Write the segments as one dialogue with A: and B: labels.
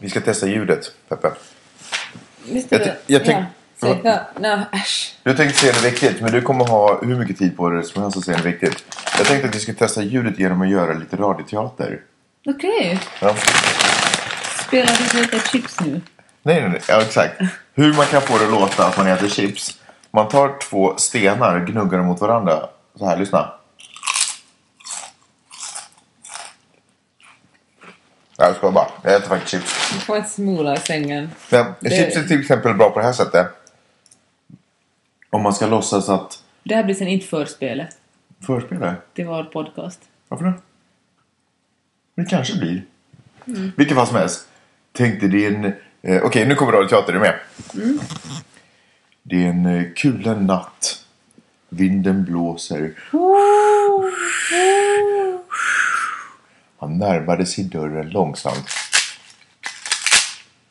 A: Vi ska testa ljudet, Peppe.
B: Visst
A: Jag
B: är det?
A: ty- jag tänk-
B: ja. Så, ja. Nej, äsch.
A: Du tänkte se den riktigt, men du kommer ha hur mycket tid på dig som helst att se den riktigt. Jag tänkte att vi skulle testa ljudet genom att göra lite radioteater.
B: Okej.
A: Ja.
B: Spelar vi lite chips nu?
A: Nej, nej, nej. Ja, exakt. Hur man kan få det att låta att man äter chips. Man tar två stenar och gnuggar dem mot varandra. Så här, lyssna. Ja, Jag skojar bara. Jag äter faktiskt chips.
B: Du får inte smula i sängen.
A: Men
B: Det-
A: chips är till exempel bra på det här sättet. Om man ska låtsas att...
B: Det här blir sen inte förspelet
A: Förspelare?
B: till vår podcast.
A: Varför då? Det kanske blir.
B: Mm.
A: Vilket fall som helst. Tänkte det är en... Eh, Okej, nu kommer radioteater. Är du med?
B: Mm.
A: Det är en eh, kulen natt. Vinden blåser. Han närmade sig dörren långsamt.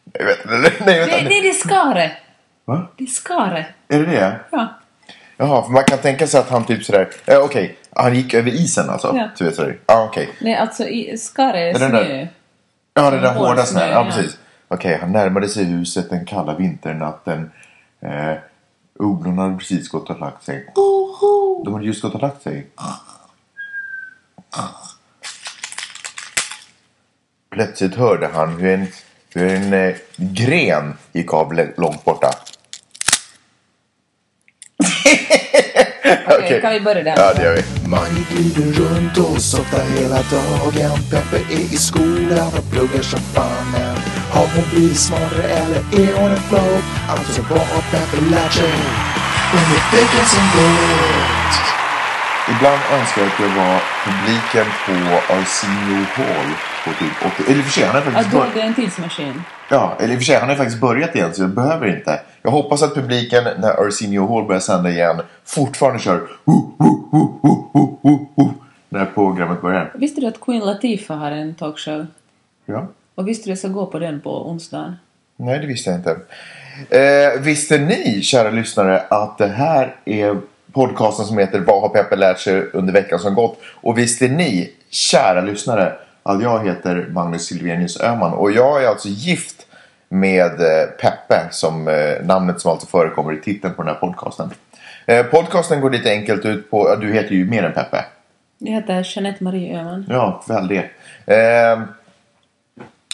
A: Nej, vänta. Nej, vänta.
B: Nej, nej, det är skare!
A: Va?
B: Det är skare.
A: Är det det?
B: Ja.
A: Jaha, för man kan tänka sig att han typ sådär... Eh, Okej, han gick över isen alltså?
B: Ja.
A: Så vet du. Ja, okej.
B: Nej, alltså i, skare är
A: Är den
B: snö.
A: där- Ja, det där
B: Hård
A: hårda snön.
B: snö,
A: Ja,
B: ja.
A: precis. Okej, han närmade sig huset den kalla vinternatten. Eh, ugglorna hade precis gått och lagt sig. De hade just gått och lagt sig. Plötsligt hörde han hur en, hur en eh, gren gick av lä- långt borta.
B: Okej,
A: Okej.
B: kan vi börja där?
A: Ja, det gör vi.
C: Man glider runt och softar hela dagen Peppe är i skolan och pluggar som fanen Har hon blivit smartare eller är hon en flow? Alltså vad har Peppe lärt sig under veckan som gått?
A: Ibland önskar jag att jag var publiken på Arsenio Hall på typ 80... Eller i och för sig, han är
B: Att
A: faktiskt
B: du
A: bör-
B: hade en tidsmaskin.
A: Ja, eller i och för sig, han har ju faktiskt börjat igen så jag behöver inte. Jag hoppas att publiken när Arsenio Hall börjar sända igen fortfarande kör "Woo, woo, woo, woo, woo, woo, woo", när programmet börjar.
B: Visste du att Queen Latifah har en talkshow?
A: Ja.
B: Och visste du att jag ska gå på den på onsdagen?
A: Nej, det visste jag inte. Eh, visste ni, kära lyssnare, att det här är podcasten som heter Vad har Peppe lärt sig under veckan som gått? Och visste ni, kära lyssnare, att jag heter Magnus Silvenius Öhman och jag är alltså gift med eh, Peppe, som eh, namnet som alltså förekommer i titeln på den här podcasten. Eh, podcasten går lite enkelt ut på, ja, du heter ju mer än Peppe.
B: Jag heter Jeanette Marie Öhman.
A: Ja, väl det. Eh,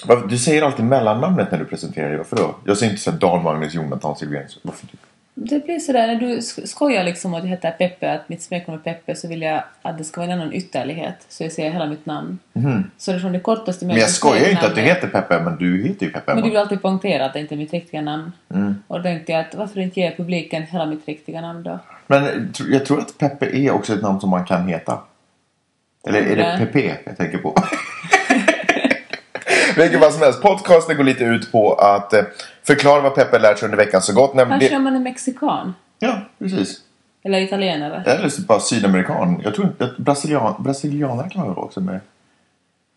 A: vad- du säger alltid mellannamnet när du presenterar dig. Varför då? Jag säger inte så här Dan Magnus Jonathan Silfverstrand. Varför typ?
B: Det blir sådär när du sk- skojar liksom att jag heter Peppe, att mitt smeknamn är Peppe, så vill jag att det ska vara en annan ytterlighet. Så jag säger hela mitt namn. Så det är från det kortaste
A: Mhm. Men jag skojar ju inte att du
B: smeknamnet.
A: heter Peppe, men du heter ju Peppe.
B: Men
A: Emma.
B: du
A: Mm.
B: vill alltid poängtera att det inte är mitt riktiga namn. Och då tänkte jag att varför inte ge publiken hela mitt riktiga namn då?
A: Men tr- jag tror att Peppe är också ett namn som man kan heta. Eller är det
B: Nej.
A: Pepe jag tänker på? Vilket vad som helst. Podcasten går lite ut på att eh, förklara vad Peppe lärt sig under veckan så gott. Nej, men
B: Här kör
A: det...
B: man en mexikan.
A: Ja, precis.
B: Eller italienare.
A: Eller så bara sydamerikan. Jag tror inte att brasilian, brasilianare kan man väl vara också med.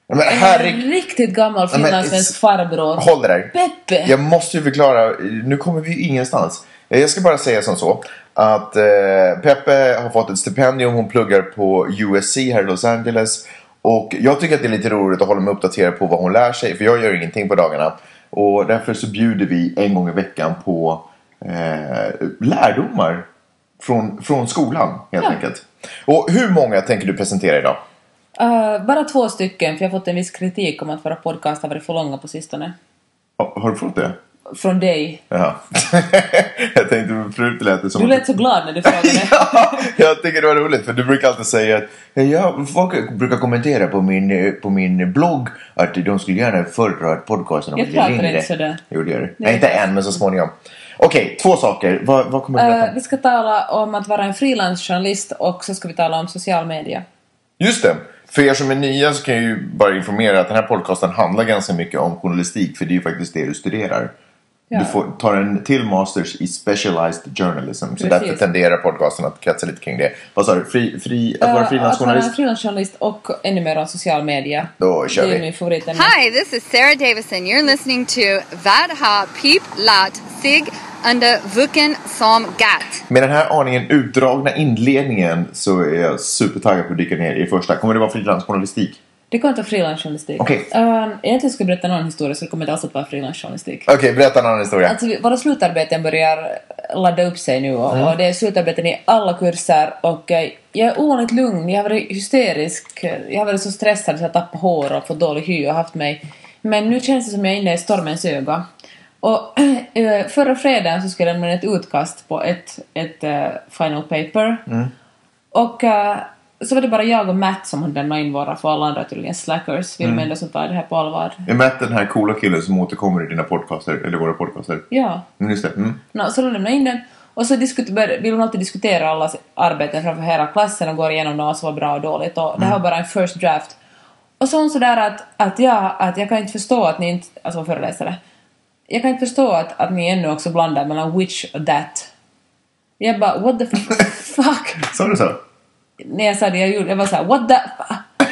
A: Men herregud.
B: En riktigt gammal
A: men-
B: finlandssvensk farbror.
A: Håll det där.
B: Peppe!
A: Jag måste ju förklara. Nu kommer vi ju ingenstans. Eh, Jag ska bara säga som så. Att eh, Peppe har fått ett stipendium. Hon pluggar på USC här i Los Angeles. Och jag tycker att det är lite roligt att hålla mig uppdaterad på vad hon lär sig. För jag gör ingenting på dagarna. Och därför så bjuder vi en gång i veckan på eh, lärdomar från, från skolan helt
B: Ja.
A: enkelt. Och hur många tänker du presentera idag?
B: Eh, bara två stycken, för jag har fått en viss kritik om att våra podcast har varit för långa på sistone.
A: Har har du fått det?
B: Från dig.
A: Jaha. jag tänkte förut lät det som
B: Du
A: att-
B: lät så glad när du frågade.
A: Ja, jag tycker det var roligt för du brukar alltid säga att "Ja, jag, folk brukar kommentera på min, eh, på min blogg att de skulle gärna föredra att podcasten
B: Jag pratar inte sådär.
A: Jo, det gör du. Nej, inte än, men så småningom. Okej, två saker. Vad, vad kommer du berätta?
B: Eh, vi ska tala om att vara en frilansjournalist och så ska vi tala om social media.
A: Just det. För er som är nya så kan jag ju bara informera att den här podcasten handlar ganska mycket om journalistik för det är ju faktiskt det du studerar.
B: Ja.
A: Du får, tar en till masters i specialized journalism. Så
B: Precis.
A: därför tenderar podcasten att kretsa lite kring det. Vad sa du? Fri, fri, att vara
B: Eh, att vara en
A: frilansjournalist?
B: frilansjournalist och ännu mer om social media.
A: Då kör
B: det är
A: vi.
B: min favoritämne.
D: Hi, this is Sarah Davison. You're listening to Vadha Peep Lat Sig under Vuken Som Gat.
A: Med den här aningen utdragna inledningen så är jag supertaggad på att dyka ner i första. Kommer det vara frilansjournalistik?
B: Det kommer inte vara frilansjournalistik.
A: Okej.
B: Ehm, egentligen skulle jag berätta någon historia så det kommer inte alls att vara frilansjournalistik.
A: Okej, berätta en annan historia.
B: Alltså, vi- våra slutarbeten börjar ladda upp sig nu och, och det är slutarbeten i alla kurser och eh, jag är ovanligt lugn, jag har varit hysterisk, jag har varit så stressad så jag tappar hår och fått dålig hy och haft mig. Men nu känns det som jag är inne i stormens öga. Och eh, förra fredagen så skulle jag lämna ett utkast på ett, ett eh, final paper och eh, så var det bara jag och Matt som hade lämnat in våra, för alla andra är tydligen slackers, vill mm. ändå som tar det här på allvar.
A: Är Matt den här coola killen som återkommer i dina podcaster, eller våra podcaster?
B: Ja.
A: Mm, just det. Mm.
B: No, så de lämnade in den och så diskut- bör- vill hon alltid diskutera alla arbeten framför hela klassen och går igenom dem alltså vad som var bra och dåligt och det här var bara en first draft. Och så hon sådär att, att, jag, att jag kan inte förstå att ni inte, alltså hon föreläsare, jag kan inte förstå att, att ni ännu också blandar mellan which och that. Jag bara what the f- fuck?
A: Sa du så?
B: När jag sa det jag gjorde, jag var såhär what the fuck?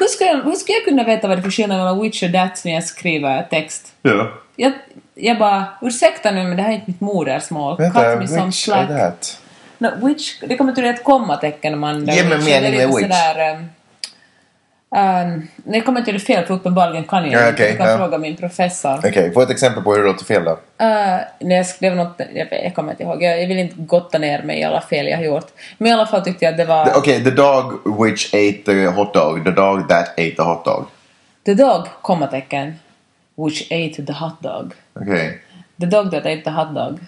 B: hur, ska jag, hur ska jag kunna veta vad det är för skillnad mellan which och that när jag skriver text?
A: Ja.
B: Jag, jag bara, ursäkta nu men det här är inte mitt modersmål. Cut me some
A: which är
B: slack.
A: that?
B: No, which, det kommer tydligen ett kommatecken när man...
A: Ge mig
B: which,
A: mening
B: det är lite
A: med which.
B: Sådär, um, um, det kommer till det fel för uppenbarligen kan jag
A: Ja,
B: inte.
A: okej,
B: Du kan
A: ja.
B: fråga min professor.
A: Okej, få ett exempel på hur det låter fel då.
B: Uh, när jag skrev något, jag, vet- jag kommer inte ihåg, jag, jag vill inte gotta ner mig i alla fel jag har gjort. Men i alla fall tyckte jag att det var...
A: Okej, the dog which ate the hot dog, the dog that ate the hot dog.
B: The dog, kommatecken, which ate the hot dog.
A: Okej.
B: The dog that ate the hot dog.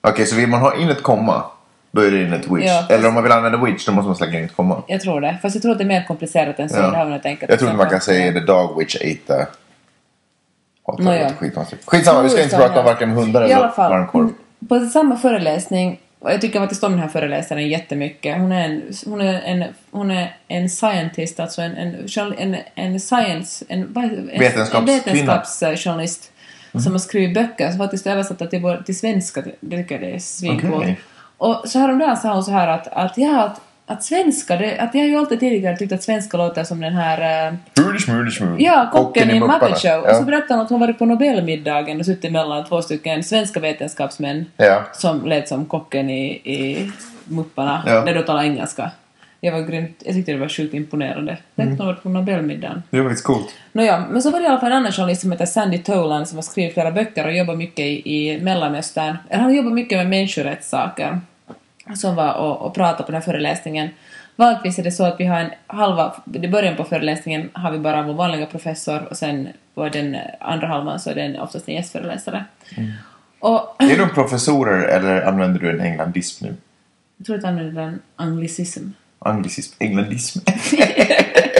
A: Okej, så vill man ha in ett komma, då är det in ett which.
B: Ja.
A: Eller om man vill använda which, då måste man slänga in ett komma.
B: Jag tror det. Fast jag tror att det är mer komplicerat än så. Det här var något enkelt.
A: Jag tror inte man kan
B: exempel.
A: säga the dog which ate the... Hot dog.
B: Nåja.
A: låter skitkonstigt. Skitsamma, vi ska inte prata om varken hundar
B: I alla
A: eller
B: fall, Mm.
A: varmkorv.
B: På samma föreläsning, och jag tycker faktiskt om den här föreläsaren jättemycket. Hon är en, hon är en, hon är en scientist, alltså en, en, journal- en, en science... En, vad heter- en,
A: Vetenskapskvinna. Mm.
B: En vetenskapsjournalist som har skrivit böcker som faktiskt är översatta till, vår- till svenska. Det tycker jag det är svincoolt.
A: Okej.
B: Och så häromdagen sa hon så här att, att, ja, att, att svenska, det, att jag har ju alltid tidigare tyckt att svenska låter som den här eh,
A: Hurdy smurdy smurdy.
B: Ja, kocken i
A: Mupparna.
B: Muppet Show. Och
A: Ja.
B: så berättade hon att hon varit på Nobelmiddagen och suttit mellan två stycken svenska vetenskapsmän
A: Ja.
B: som lät som kocken i, i Mupparna,
A: Ja.
B: när de talade engelska. Jag var grymt, jag tyckte det var sjukt imponerande. Tänk mm. varit på Nobelmiddagen.
A: Det var faktiskt coolt.
B: Nåja, men så var det i alla fall en annan journalist som heter Sandy Tolan som har skrivit flera böcker och jobbar mycket i, i Mellanöstern. Eller Han jobbar mycket med människorättssaker som var och, och pratade på den här föreläsningen. Vanligtvis är det så att vi har en halva, i början på föreläsningen har vi bara vår vanliga professor och sen på den andra halvan så är den oftast en gästföreläsare. Och
A: Är de professorer eller använder du en englandism nu?
B: jag tror att han använder en anglicism.
A: Anglicism? Englandism?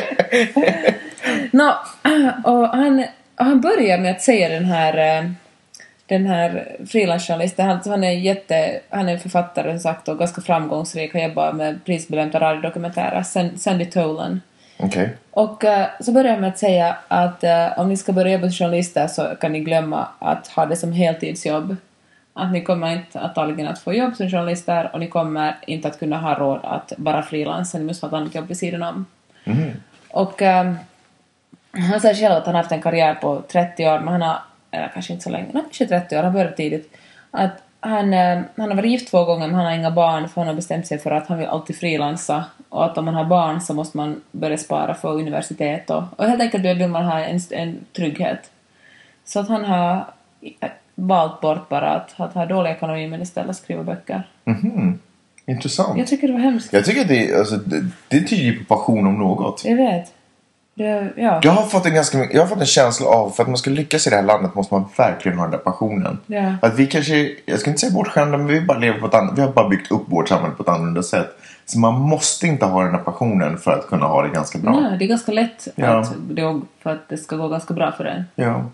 B: Nå, och han, och han börjar med att säga den här eh, den här frilansjournalisten, han, han är jätte, han är författare som sagt och ganska framgångsrik och jobbar med prisbelönta radiodokumentärer, San- Sandy Tolan.
A: Okej.
B: Och eh, så börjar jag med att säga att eh, om ni ska börja jobba som journalister så kan ni glömma att ha det som heltidsjobb. Att ni kommer inte antagligen att få jobb som journalister och ni kommer inte att kunna ha råd att bara frilansa, ni måste ha ett annat jobb vid sidan om. Och eh, han säger själv att han haft en karriär på 30 år, men han har, eller kanske inte så länge, no, kanske 30 år, han började tidigt. Att han, eh, han har varit gift två gånger men han har inga barn för han har bestämt sig för att han vill alltid frilansa och att om man har barn så måste man börja spara för universitet och, och helt enkelt vill man ha en, en trygghet. Så att han har valt bort bara att, att ha dålig ekonomi men istället skriva böcker.
A: Intressant.
B: Jag tycker det var hemskt.
A: Jag tycker att det, alltså, det, det tyder ju på passion om något.
B: Jag vet. Det, ja.
A: Jag har, fått en ganska, mycket- jag har fått en känsla av för att man ska lyckas i det här landet måste man verkligen ha den där passionen.
B: Ja.
A: Att vi kanske, jag ska inte säga bortskämda, men vi bara lever på ett annat, vi har bara byggt upp vårt samhälle på ett annorlunda sätt. Så man måste inte ha den där passionen för att kunna ha det ganska bra.
B: Nej, det är ganska lätt
A: Ja.
B: att, det, för att det ska gå ganska bra för en.
A: Ja.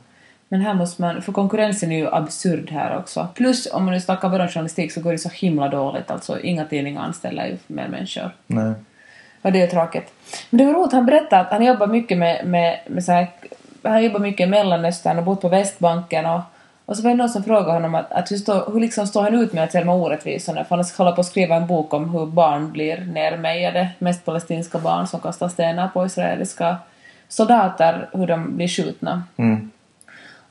B: Men här måste man, för konkurrensen är ju absurd här också. Plus om man nu snackar bara om journalistik så går det så himla dåligt. Alltså inga tidningar anställer ju mer människor.
A: Nej.
B: Och det är tråkigt. Men det var roligt, han berättade att han jobbar mycket med, med, med så här, han jobbar mycket i Mellanöstern och bott på Västbanken och, och så var det någon som frågade honom att, att hur, står hur liksom står han ut med att se de här orättvisorna? För han håller på att skriva en bok om hur barn blir nermejade, mest palestinska barn som kastar stenar på israeliska soldater, hur de blir skjutna.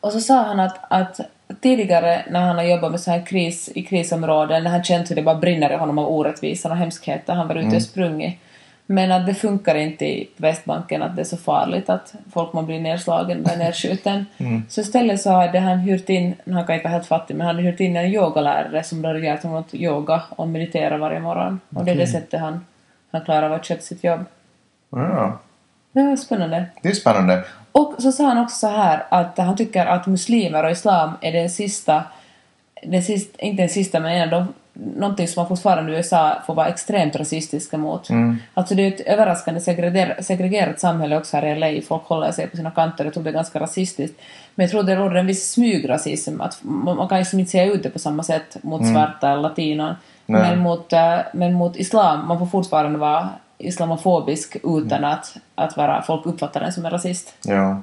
B: Och så sa han att, att tidigare när han har jobbat med så här kris i krisområden, när han känt hur det bara brinner i honom av orättvisan och hemskheter, han var ute och sprungit, Men att det funkar inte i Västbanken att det är så farligt att folk man blir nedslagen eller nedskjuten. Så istället så hade han hyrt in, nu han kan inte vara helt fattig, men han hade hyrt in en yogalärare som då lärde honom att yoga och meditera varje morgon. Och det är det sättet han, han klarar av att sköta sitt jobb.
A: Ja,
B: Det var spännande.
A: det är spännande.
B: Och så sa han också så här att han tycker att muslimer och islam är den sista, den sista inte den sista men en av de, någonting som man fortfarande i USA får vara extremt rasistiska mot. Alltså det är ju ett överraskande segreger, segregerat samhälle också här i LA. Folk håller sig på sina kanter, jag tror det är ganska rasistiskt. Men jag tror det råder en viss smygrasism, att man, man kan liksom inte säga ut det på samma sätt mot svarta eller latinon.
A: Nej.
B: Men mot, eh, men mot islam, man får fortfarande vara islamofobisk utan att, att vara, folk uppfattar en som en rasist.
A: Ja.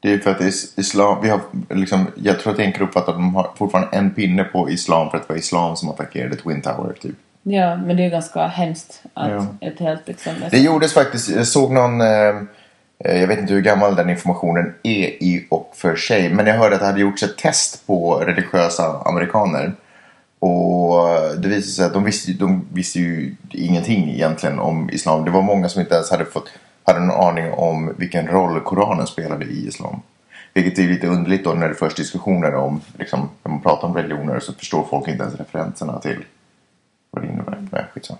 A: Det är ju för att is- islam, vi har liksom, jag tror att det är en grupp att de har fortfarande en pinne på islam för att det var islam som attackerade Twin Tower typ.
B: Ja, men det är ganska hemskt att
A: Ja.
B: ett helt liksom...
A: Det gjordes faktiskt, jag såg någon, eh, eh, jag vet inte hur gammal den informationen är i och för sig, men jag hörde att det hade gjorts ett test på religiösa amerikaner. Och det visade sig att de visste, ju- de visste ju ingenting egentligen om islam. Det var många som inte ens hade fått, hade någon aning om vilken roll Koranen spelade i islam. Vilket är lite underligt då när det förs diskussioner om, liksom, när man pratar om religioner så förstår folk inte ens referenserna till vad det innebär. Nej, skitsamma.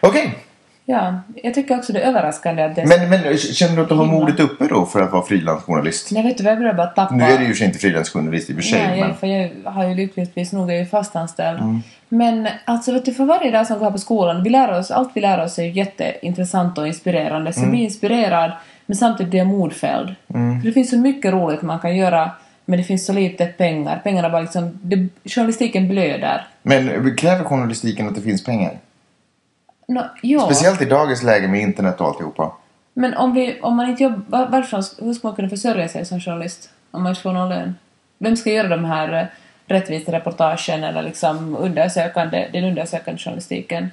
A: Okej,
B: Ja, jag tycker också det är överraskande att det...
A: men, men känner du att du har
B: Himla.
A: modet uppe då för att vara frilansjournalist?
B: Nej, vet du vad, jag börjar bara tappa...
A: Nu är du ju sig inte frilansjournalist i och för sig.
B: Nej,
A: men...
B: jag, för jag har ju lyckligtvis nog, jag är ju fastanställd.
A: Mm.
B: Men alltså vet du, för varje dag som går här på skolan, vi lär oss, allt vi lär oss är ju jätteintressant och inspirerande. Så
A: Mm.
B: jag blir inspirerad, men samtidigt blir jag modfälld. För det finns så mycket roligt man kan göra, men det finns så lite pengar. Pengarna bara liksom... Det, journalistiken blöder.
A: men kräver journalistiken att det finns pengar?
B: Nå, ja.
A: Speciellt i dagens läge med internet och alltihopa.
B: Men om, vi, om man inte jobbar, varför, hur ska man kunna försörja sig som journalist om man inte får någon lön? Vem ska göra de här eh, rättvisa reportagen eller liksom undersökande, den undersökande journalistiken?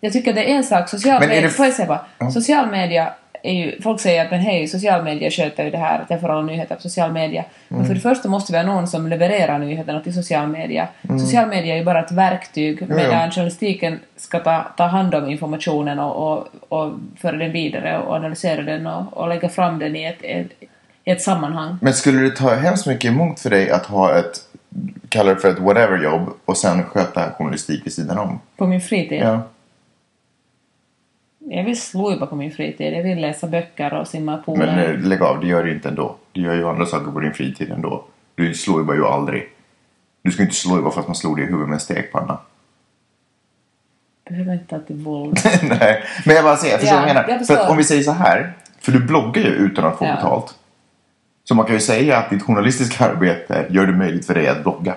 B: Jag tycker det är en sak, social
A: Men är
B: media,
A: det-
B: får jag säga bara,
A: Ja.
B: social media är ju, folk säger att men hej, social media sköter ju det här, att jag får alla nyheter på social media.
A: Mm.
B: Men för det första måste vi ha någon som levererar nyheterna till social media. Social media är ju bara ett verktyg
A: Mm. ja.
B: medan journalistiken ska ta, ta hand om informationen och, och, och föra den vidare och analysera den och, och lägga fram den i ett, ett, i ett sammanhang.
A: Men skulle det ta hemskt mycket emot för dig att ha ett, kalla det för ett whatever-jobb och sen sköta journalistik vid sidan om?
B: På min fritid.
A: Ja.
B: Jag vill slojba på min fritid. Jag vill läsa böcker och simma i poolen.
A: Men eh, lägg av, det gör du inte ändå. Du gör ju andra saker på din fritid ändå. Du slår ju bara ju aldrig. Du ska ju inte slå ju bara för att man slog dig i huvudet med en stekpanna.
B: Behöver inte alltid våld.
A: Nej, men jag bara säger, jag förstår
B: Ja,
A: vad du menar.
B: jag
A: För att
B: förstår.
A: om vi säger så här, för du bloggar ju utan att få
B: Ja.
A: betalt. Så man kan ju säga att ditt journalistiska arbete gör det möjligt för dig att blogga.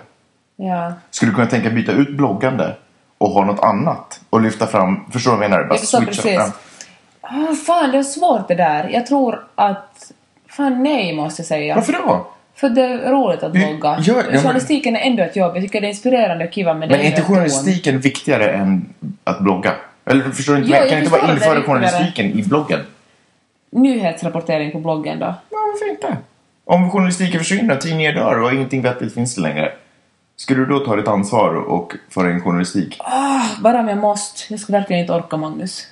B: ja.
A: Skulle du kunna tänka byta ut bloggande och ha något annat och lyfta fram, förstår du vad jag menar? Bara
B: Jag förstår
A: switcha
B: precis.
A: fram.
B: Ah, fan, det är svårt det där. Jag tror att... Fan nej, måste jag säga.
A: Varför då?
B: För det är roligt att
A: Ja,
B: blogga.
A: ja, men-
B: Journalistiken är ändå ett jobb. Jag tycker det är inspirerande och kiva men det
A: Men
B: är
A: är inte
B: ändå ett
A: journalistiken viktigare än att blogga? Eller förstår du inte?
B: Jo,
A: men
B: jag
A: kan du inte
B: förstår
A: bara
B: att det är
A: införa
B: viktigare.
A: journalistiken i bloggen?
B: hån. Nyhetsrapportering på bloggen då.
A: Ja, varför inte? Om journalistiken försvinner, tidningar dör och ingenting vettigt finns längre. Skulle du då ta ditt ansvar och föra in journalistik?
B: Bara om jag måste. Jag skulle verkligen inte orka Magnus.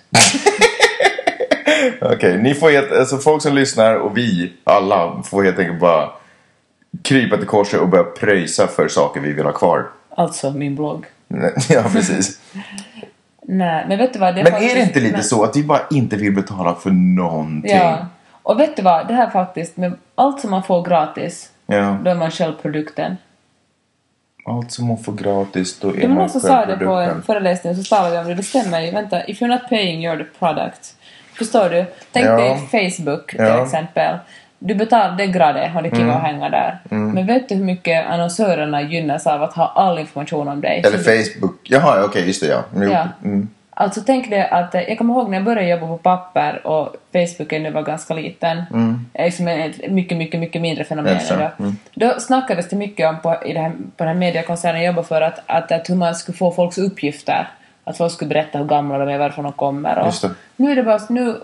A: Okej, ni får helt, alltså folk som lyssnar och vi alla får helt enkelt bara krypa till korset och börja pröjsa för saker vi vill ha kvar.
B: Alltså min blogg.
A: Ja, precis.
B: Nej, men vet du vad? Det
A: Men är det inte lite
B: men-
A: så att vi bara inte vill betala för någonting?
B: Ja. Och vet du vad? Det här faktiskt, med allt som man får gratis,
A: Ja.
B: då är man själv produkten.
A: Allt som hon får gratis, då är
B: Det var
A: man
B: någon som sa det på
A: självprodukten.
B: en föreläsning, så talade vi om det. Det stämmer ju. Vänta, if you're not paying you're the product. Förstår du? Tänk
A: Ja.
B: dig Facebook till
A: Ja. Mm.
B: exempel. Du betalar den graden och det kiva att hänga där. Men vet du hur mycket annonsörerna gynnas av att ha all information om dig?
A: Eller
B: Så du-
A: Facebook. Jaha, okej, just det ja. Jo.
B: Ja.
A: Mm.
B: Alltså tänk dig att, eh, jag kommer ihåg när jag började jobba på papper och Facebook ännu var ganska liten. Mm. Liksom ett mycket, mycket, mycket mindre fenomen
A: Eftersom,
B: idag. Då snackades det mycket om på, i det här, på den här mediekoncernen jag jobbar för att, att, att hur man skulle få folks uppgifter. Att folk skulle berätta hur gamla de är, varifrån de kommer. Och
A: Just det.
B: Nu är det bara, nu,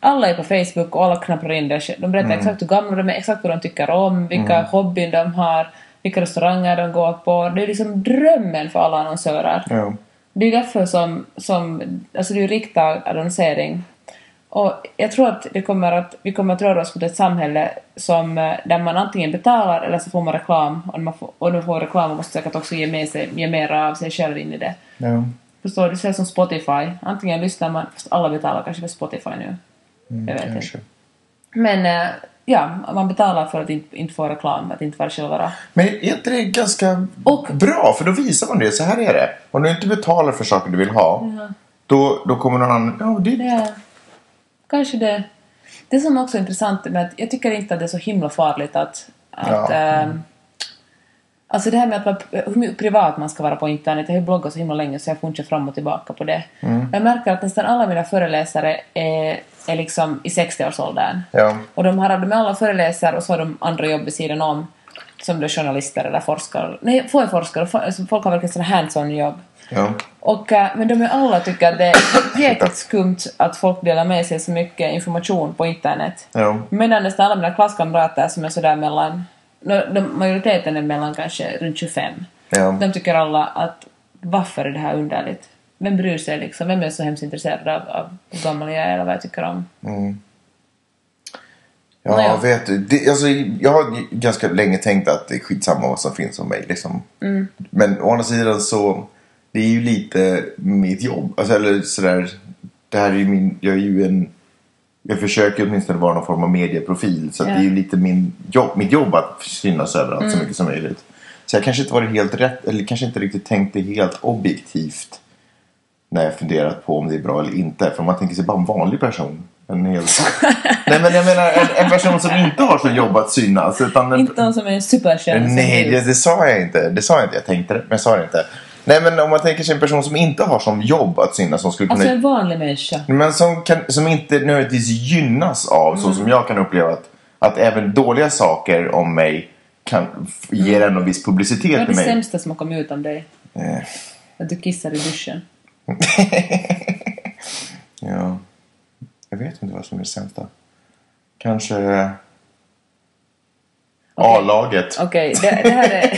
B: alla är på Facebook och alla knappar in det. De berättar
A: Mm.
B: exakt hur gamla de är, exakt vad de tycker om, vilka hobbyn de har, vilka restauranger de går på. Det är liksom drömmen för alla annonsörer.
A: Ja.
B: Det är därför som, som alltså det är ju riktad annonsering. Och jag tror att, det kommer att vi kommer att röra oss mot ett samhälle som, eh, där man antingen betalar eller så får man reklam. Och när man får, och när man får reklam man måste man säkert också ge, med sig, ge mer av sig själv in i det.
A: Ja.
B: Förstår du? Så är det som Spotify. Antingen lyssnar man, fast alla betalar kanske för Spotify nu. jag vet
A: Mm, Kanske.
B: inte. Men eh, ja, man betalar för att inte, inte få reklam, att inte vara självvara.
A: Men är inte det ganska
B: Och-
A: bra? För då visar man det. Så här är det. Om du inte betalar för saker du vill ha. Då, då kommer någon annan. Ja, det,
B: Ja, kanske det. Det som också är intressant med att jag tycker inte att det är så himla farligt att... att
A: Ja.
B: ehm, Alltså det här med att vara, hur mycket privat man ska vara på internet. Jag har ju bloggat så himla länge så jag får inte fram och tillbaka på det.
A: Mm.
B: Jag märker att nästan alla mina föreläsare är, är liksom i 60-årsåldern.
A: ja.
B: Och de har de är alla föreläsare och så har de andra jobb vid sidan om. Som då journalister eller forskare. Nej, få är forskare. få- alltså Folk har verkligen sådana hands-on jobb.
A: ja.
B: Och, eh, men de är alla tycker att det är jäkligt skumt att folk delar med sig så mycket information på internet.
A: Ja.
B: Medan nästan alla mina klasskamrater som är sådär mellan, nå, de, majoriteten är mellan kanske runt 25.
A: Ja.
B: De tycker alla att varför är det här underligt? Vem bryr sig liksom? Vem är så hemskt intresserad av, av hur gammal jag är eller vad jag tycker om?
A: Ja,
B: Naja.
A: vet du. Det, alltså, jag har ganska länge tänkt att det är skitsamma vad som finns om mig. Liksom. Men å andra sidan så, det är ju lite mitt jobb. Alltså, eller sådär, det här är ju min, jag är ju en, jag försöker åtminstone vara någon form av medieprofil. Så att
B: Ja.
A: det är ju lite min jobb, mitt jobb att synas överallt så mycket som möjligt. Så jag kanske inte varit helt rätt, eller kanske inte riktigt tänkt det helt objektivt. När jag funderat på om det är bra eller inte. För om man tänker sig bara en vanlig person. En helt... Nej men jag menar en, en person som inte har som jobb att synas. Utan en...
B: Inte någon som är en superkändis. som
A: Nej,
B: du.
A: det, det sa jag inte. Det sa jag inte. Jag tänkte det, men jag sa det inte. Nej men om man tänker sig en person som inte har som jobb att synas. Som skulle kunna...
B: Alltså en vanlig människa.
A: Men som, kan, som inte nödvändigtvis gynnas av, så
B: Mm.
A: som jag kan uppleva att, att även dåliga saker om mig kan, f- ger en viss publicitet
B: Vad är
A: till
B: det
A: mig.
B: sämsta som har kommit ut om dig?
A: Eh,
B: Att du kissar i duschen.
A: ja. Jag vet inte vad som är det sämsta. Kanske eh, A-laget.
B: Okej, det, det här är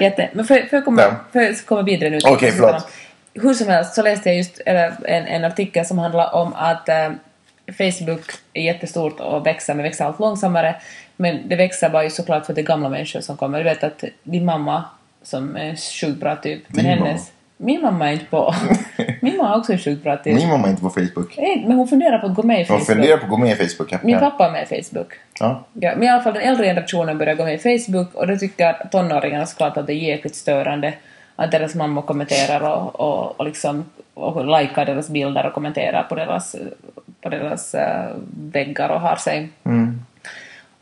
B: jätte... Men får, jag- får, jag komma,
A: Ja.
B: får jag komma vidare nu?
A: Okej, förlåt.
B: Hur som helst så läste jag just eller, en, en artikel som handlar om att eh, Facebook är jättestort och växer, men växer allt långsammare. Men det växer bara ju såklart för att det är gamla människor som kommer. Du vet att din mamma som är sjukt bra typ, men
A: Din mamma?
B: hennes... Min mamma är inte på. Min mamma är också en sjukt bra typ.
A: Min mamma är inte på Facebook.
B: Nej, Men hon funderar på att gå med i
A: Hon
B: Facebook.
A: funderar på att gå med i Facebook. Ja.
B: Min pappa är med i Facebook.
A: Ja.
B: Ja, men i alla fall den äldre generationen börjar gå med i Facebook och då tycker tonåringarna såklart att det är jäkligt störande att deras mamma kommenterar och, och, och liksom och likar deras bilder och kommenterar på deras, på deras eh, väggar och har sig.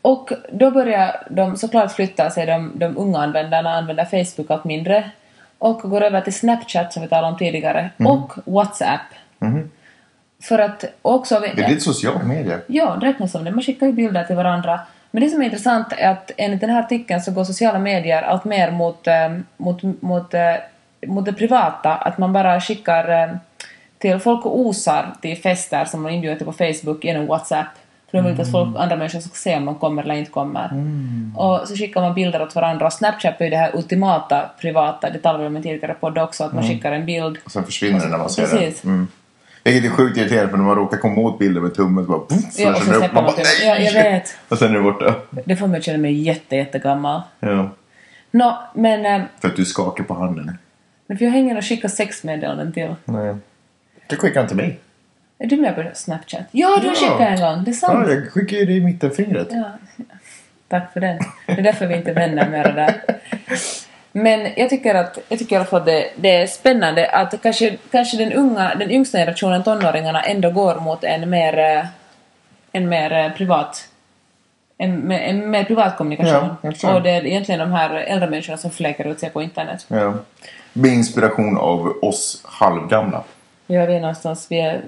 B: Och då börjar de såklart flytta sig, de, de unga användarna använder Facebook allt mindre och går över till Snapchat som vi talade om tidigare och Whatsapp. För att också...
A: Det är lite sociala medier.
B: Ja, det räknas som det. Man skickar ju bilder till varandra. Men det som är intressant är att enligt den här artikeln så går sociala medier allt mer mot, eh, mot, mot, eh, mot det privata. Att man bara skickar eh, till folk och osar till fester som man inbjuder till på Facebook genom WhatsApp. För de vill inte att folk, andra människor ska se om de kommer eller inte kommer. Och så skickar man bilder åt varandra. Och Snapchat är ju det här ultimata privata. Det talade vi om i en tidigare podd också, att man skickar en bild.
A: Och sen försvinner den när man ser
B: Precis.
A: den. Mm. Vilket är sjukt irriterande för när man råkar komma åt bilden med tummen så bara... Pff,
B: Ja, och sen
A: flashar den upp.
B: släpper
A: Man
B: man
A: bara,
B: tummen.
A: "Nej!"
B: Ja, jag vet.
A: Och sen är det borta.
B: Det får mig att känna mig jätte, jättegammal.
A: Ja.
B: Nå, men... eh,
A: För att du skakar på handen.
B: Men för jag hänger och skickar sexmeddelanden till.
A: Nej. Du skickar inte mig.
B: Är du med på Snapchat? Ja, du
A: Ja.
B: skickade en gång. Det är sant.
A: Ja, jag skickar ju dig i mittenfingret.
B: Ja. Tack för den. Det är därför vi inte är vänner mera där. Men jag tycker, att, jag tycker i alla fall att det, det är spännande att kanske, kanske den, unga, den yngsta generationen tonåringarna ändå går mot en mer, eh, en mer eh, privat en, en mer privat kommunikation.
A: Ja, jag tror.
B: och det är egentligen de här äldre människorna som fläker ut sig på internet.
A: Ja. Med inspiration av oss halvgamla.
B: Ja, vi är någonstans, vi är,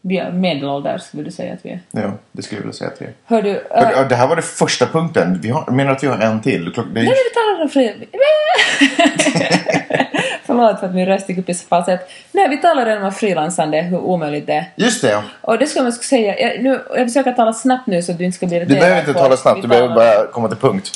B: vi är medelålders, vill du säga att vi är.
A: Ja, det skulle jag vilja säga till er.
B: Hör du,
A: Hörru,
B: eh,
A: ja, Det här var den första punkten. Vi har, menar att vi har en till? Klock, det är,
B: Nej, nej, vi talar om frihet. Förlåt för att min röst gick upp i så falsett. Nej, vi talar redan om frilansande, hur omöjligt det är.
A: just det, ja.
B: Och det ska man skulle säga, jag, nu, jag försöker tala snabbt nu så att du inte ska bli
A: Du
B: irriterad.
A: behöver inte
B: på
A: tala
B: att
A: snabbt.
B: vi
A: Du behöver
B: talar-
A: bara komma till punkt.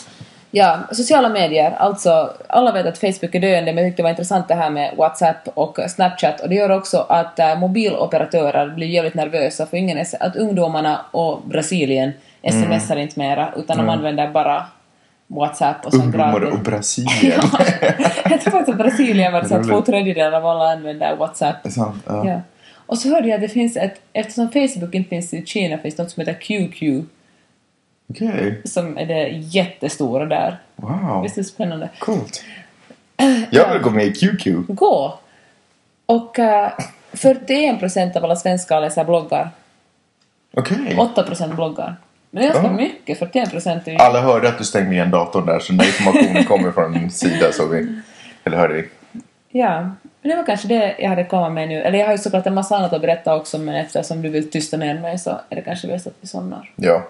B: Ja, sociala medier. Alltså, alla vet att Facebook är döende men jag tyckte det var intressant det här med WhatsApp och Snapchat och det gör också att eh, mobiloperatörer blir jävligt nervösa för ingen är, att ungdomarna och Brasilien
A: Mm.
B: smsar inte mera utan de använder bara WhatsApp och sånt
A: Ungdomar
B: gratis.
A: och Brasilien.
B: jag tror faktiskt att Brasilien var så att
A: Roligt. Alltså.
B: två tredjedelar av alla använder WhatsApp.
A: Det är sant, ja.
B: Ja. Och så hörde jag att det finns ett, eftersom Facebook inte finns i Kina finns det något som heter QQ
A: Okej,
B: som är det jättestora där.
A: wow.
B: Visst är det spännande?
A: Coolt. Jag vill gå med i QQ.
B: Gå! Och eh, 41% av alla svenskar läser bloggar.
A: Okej.
B: 8% bloggar. Men det är ganska
A: Ja.
B: mycket, 41% är ju...
A: Alla hörde att du stängde igen datorn där så den där informationen kommer från en sida som vi... Eller hörde vi.
B: Ja. Men det var kanske det jag hade kommit med nu. Eller jag har ju såklart en massa annat att berätta också men eftersom du vill tysta ner mig så är det kanske bäst att vi somnar.
A: Ja.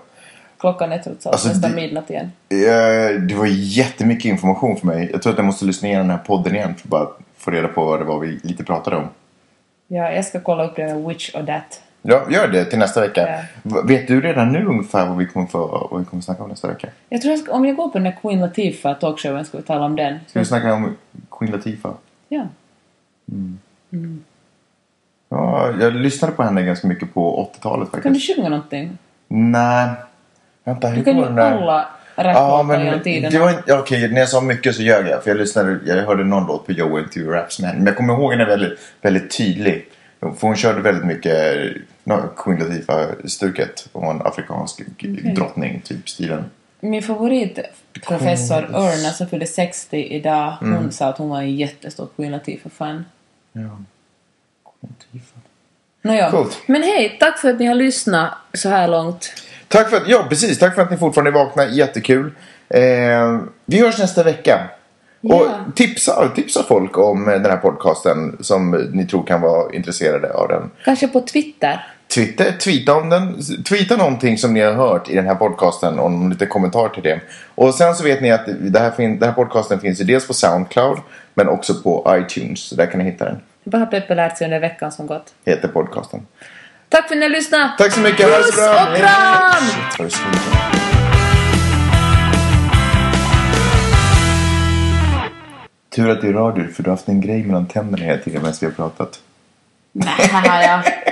B: Klockan är trots allt
A: Alltså,
B: nästan
A: det-
B: midnatt igen.
A: Eh, Det var jättemycket information för mig. Jag tror att jag måste lyssna igenom den här podden igen för att bara få reda på vad det var vi lite pratade om.
B: Ja, jag ska kolla upp det med Witch och That.
A: Ja, gör det till nästa vecka.
B: Ja.
A: V- Vet du redan nu ungefär vad vi kommer, få, vad vi kommer snacka om nästa vecka?
B: Jag tror jag ska, om jag går på den där Queen Latifah talkshowen ska vi tala om den.
A: Ska vi snacka om Queen Latifah?
B: Ja.
A: Ja, jag lyssnade på henne ganska mycket på 80-talet
B: Kan du
A: faktiskt.
B: sjunga någonting?
A: Nej. Vänta, hur
B: Du kan
A: går
B: ju
A: den där?
B: alla
A: Ja,
B: rapplåtar
A: men
B: genom tiden.
A: det var inte, okej, när jag sa mycket så ljög jag. För jag lyssnade, jag hörde någon låt på Joel till Raps Man. Men jag kommer ihåg henne väldigt, väldigt tydlig. För hon körde väldigt mycket no, Queen Latifah-stuket. Hon var en afrikansk drottning, typ stilen.
B: Min favorit professor
A: Queen Mm.
B: Örna som fyllde 60 idag, hon sa att hon var en jättestor Queen Latifah-fan.
A: Ja. Queen Latifah.
B: Nåja.
A: Coolt.
B: Men hej, tack för att ni har lyssnat så här långt.
A: Tack för att, ja precis, tack för att ni fortfarande är vakna, jättekul. Eh, vi hörs nästa vecka.
B: Ja.
A: Och tipsa, tipsa folk om eh, den här podcasten som eh, ni tror kan vara intresserade av den.
B: Kanske på Twitter.
A: Twitter, tweeta om den. S- Tweeta någonting som ni har hört i den här podcasten och någon liten kommentar till det. Och sen så vet ni att det här, fin- den här podcasten finns ju dels på Soundcloud men också på iTunes. Så där kan ni hitta den.
B: Vad har Peppe lärt sig under veckan som gått?
A: Heter podcasten.
B: Tack för att ni har lyssnat!
A: Tack så mycket, ha det så
B: Puss
A: bra!
B: och kram!
A: Shit, vad det skriker. Tur att du är radio för du har haft en grej mellan tänderna hela tiden medan vi har pratat.
B: Nej, ja.